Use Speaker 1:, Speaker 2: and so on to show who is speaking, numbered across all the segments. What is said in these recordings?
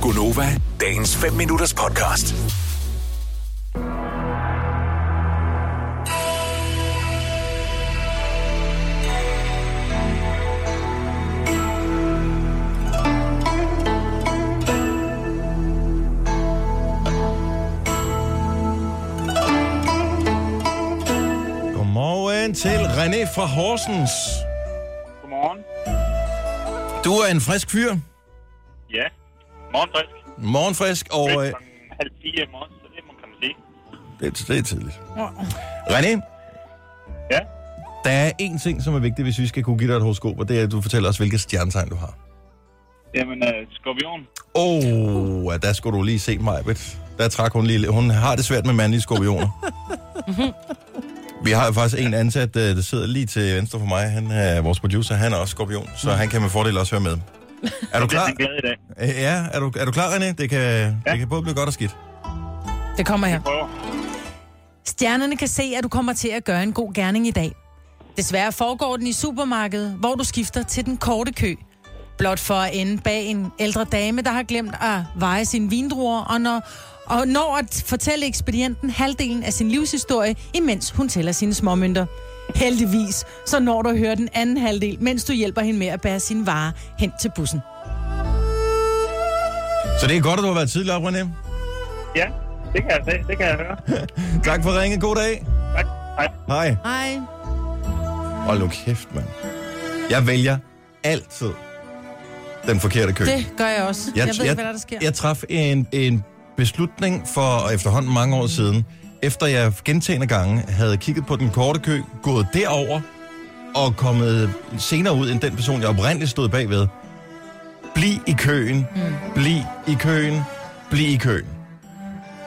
Speaker 1: Gunova, dagens 5 minutters podcast.
Speaker 2: Godmorgen til René fra Horsens.
Speaker 3: Godmorgen.
Speaker 2: Du er en frisk fyr.
Speaker 3: Ja. Morgen frisk.
Speaker 2: Morgenfrisk, og øh,
Speaker 3: Klokken halv fire i morgen, så det må kan man sige.
Speaker 2: det, det er tidligt. René,
Speaker 3: Ja.
Speaker 2: der er én ting, som er vigtig, hvis vi skal kunne give dig et horoskop, og det er, at du fortæller os, hvilket stjernetegn du har.
Speaker 3: Jamen, øh, skorpion.
Speaker 2: Åh, oh, der skulle du lige se mig, Der trak hun lige... Hun har det svært med mandlige skorpioner. Vi har jo faktisk en ansat, øh, der sidder lige til venstre for mig. Han er vores producer. Han er også skorpion, så han kan med fordel også høre med. Er du
Speaker 3: Det er
Speaker 2: klar?
Speaker 3: han glad i
Speaker 2: Øh,
Speaker 3: dag.
Speaker 2: Ja, er du, er du klar, René? Det kan, ja. det kan både blive godt og skidt.
Speaker 4: Det kommer her.
Speaker 3: Prøver.
Speaker 4: Stjernerne kan se, at du kommer til at gøre en god gerning i dag. Desværre foregår den i supermarkedet, hvor du skifter til den korte kø. Blot for at ende bag en ældre dame, der har glemt at veje sine vindruer, og når, og når at fortælle ekspedienten halvdelen af sin livshistorie, imens hun tæller sine småmønter. Heldigvis, så når du at høre den anden halvdel, mens du hjælper hende med at bære sine varer hen til bussen.
Speaker 2: Så det er godt, at du har været tidligere, René.
Speaker 3: Ja, det kan jeg se. Det kan jeg høre.
Speaker 2: Tak for ringen. God dag.
Speaker 3: Tak. Hej.
Speaker 2: Hej.
Speaker 4: Hej.
Speaker 2: Hold nu kæft, mand. Jeg vælger altid den forkerte kø.
Speaker 4: Det gør jeg også. Jeg, jeg ved ikke, hvad der, der sker.
Speaker 2: Jeg traf en, en beslutning for efterhånden mange år siden, efter jeg gentagende gange havde kigget på den korte kø, gået derover og kommet senere ud end den person, jeg oprindeligt stod bagved. Bliv i køen, mm. bliv i køen, bliv i køen.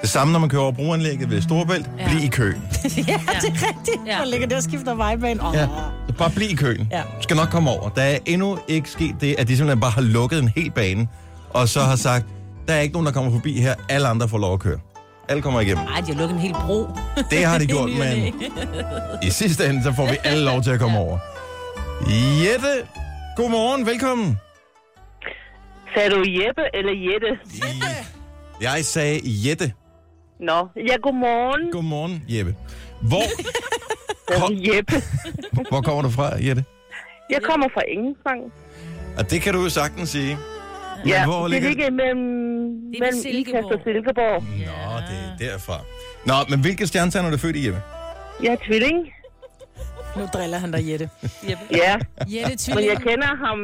Speaker 2: Det samme, når man kører over broanlægget ved Storebælt. Ja. Bliv i køen.
Speaker 4: ja, det er rigtigt. Ja.
Speaker 5: Ja.
Speaker 4: Der ligger der og skifter vejbane. Oh.
Speaker 2: Ja. Så bare bliv i køen.
Speaker 4: Ja.
Speaker 2: Du skal nok komme over. Der er endnu ikke sket det, at de simpelthen bare har lukket en hel bane, og så har sagt, der er ikke nogen, der kommer forbi her. Alle andre får lov at køre. Alle kommer igennem.
Speaker 5: Ej, de har lukket en hel bro.
Speaker 2: Det har de gjort,
Speaker 5: I ny og næ.
Speaker 2: men i sidste ende, så får vi alle lov til at komme over. Jette, godmorgen, velkommen.
Speaker 6: Sagde du Jeppe eller Jette?
Speaker 2: Jeg sagde Jette.
Speaker 6: Nå, ja, godmorgen.
Speaker 2: Godmorgen, Jeppe. Hvor,
Speaker 6: God. Jeppe.
Speaker 2: hvor kommer du fra, Jette?
Speaker 6: Jeg kommer fra Engelsang.
Speaker 2: Og det kan du jo sagtens sige. Men
Speaker 6: Ja,
Speaker 2: hvor
Speaker 6: det
Speaker 2: ligger...
Speaker 6: ligger mellem,
Speaker 5: ved
Speaker 6: mellem Ikast og
Speaker 5: Silkeborg.
Speaker 6: Silkeborg.
Speaker 2: Nå, det er derfra. Nå, men hvilke stjernetegn er du født i, Jeppe?
Speaker 6: Jeg er tvilling.
Speaker 4: Nu driller han dig, Jette.
Speaker 6: Ja,
Speaker 4: Jette
Speaker 6: men jeg
Speaker 4: Tvilling,
Speaker 6: kender ham.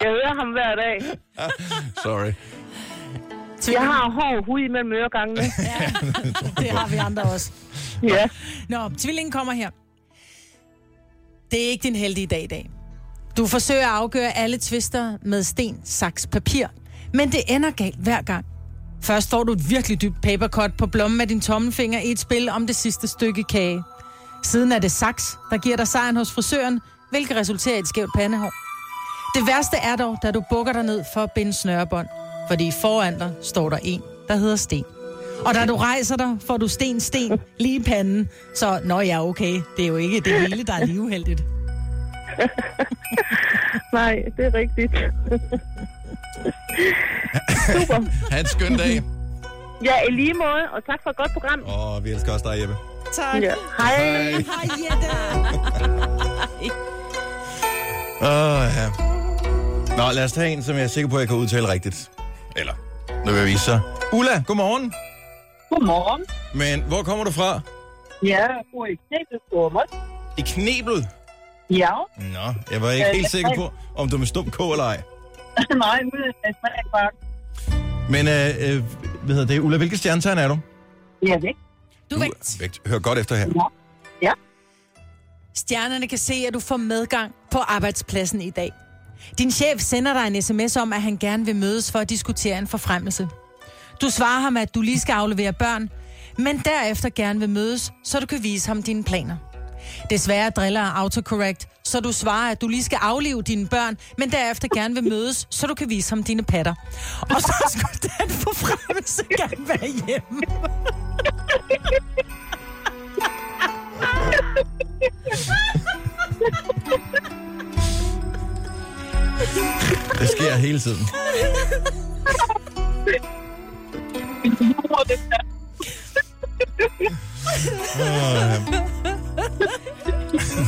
Speaker 6: Jeg hører ham hver dag.
Speaker 2: Sorry.
Speaker 6: Jeg har hård hud mellem øregangene.
Speaker 4: det har vi andre også.
Speaker 6: Ja,
Speaker 4: Nå, tvillingen kommer her. Det er ikke din heldige dag i dag. Du forsøger at afgøre alle tvister med sten, saks, papir. Men det ender galt hver gang. Først får du et virkelig dybt papercut på blommen af din tommelfinger i et spil om det sidste stykke kage. Siden er det saks, der giver dig sejren hos frisøren, hvilket resulterer i et skævt pandehår. Det værste er dog, da du bukker dig ned for at binde snørebånd, fordi foran dig står der en, der hedder Sten. Og da du rejser dig, får du sten, sten lige i panden. Så, nå ja, okay, det er jo ikke det hele, der er lige uheldigt.
Speaker 6: nej, det er rigtigt. Super.
Speaker 2: Ha' en skøn dag.
Speaker 6: Ja, i lige måde, og tak for et godt program.
Speaker 2: Åh, oh, vi elsker også dig, Jeppe.
Speaker 4: Tak.
Speaker 6: Ja. Hej.
Speaker 2: Hej.
Speaker 4: Hej, Jette.
Speaker 2: Åh, ja. Nå, lad os tage en, som jeg er sikker på, at jeg kan udtale rigtigt. Eller, nu vil jeg vise sig. Ulla, godmorgen.
Speaker 7: Godmorgen.
Speaker 2: Men hvor kommer du fra?
Speaker 7: Ja, jeg bor i Knæbelstormers.
Speaker 2: I Knebel.
Speaker 7: Ja,
Speaker 2: Nå, jeg var ikke
Speaker 7: Øh,
Speaker 2: helt sikker
Speaker 7: nej.
Speaker 2: på, om du er med stum K eller ej.
Speaker 7: nej, ude af Svalbard.
Speaker 2: Men, øh, øh, hvad hedder det? Ulla, hvilke stjernetegn er du?
Speaker 7: Jeg er væk.
Speaker 4: Du er vægt.
Speaker 2: vægt. Hør godt efter her.
Speaker 4: Stjernerne kan se, at du får medgang på arbejdspladsen i dag. Din chef sender dig en sms om, at han gerne vil mødes for at diskutere en forfremmelse. Du svarer ham, at du lige skal aflevere børn, men derefter gerne vil mødes, så du kan vise ham dine planer. Desværre driller autocorrect, så du svarer, at du lige skal aflive dine børn, men derefter gerne vil mødes, så du kan vise ham dine patter. Og så skulle den forfremmelse gerne være hjemme.
Speaker 2: Det sker hele tiden.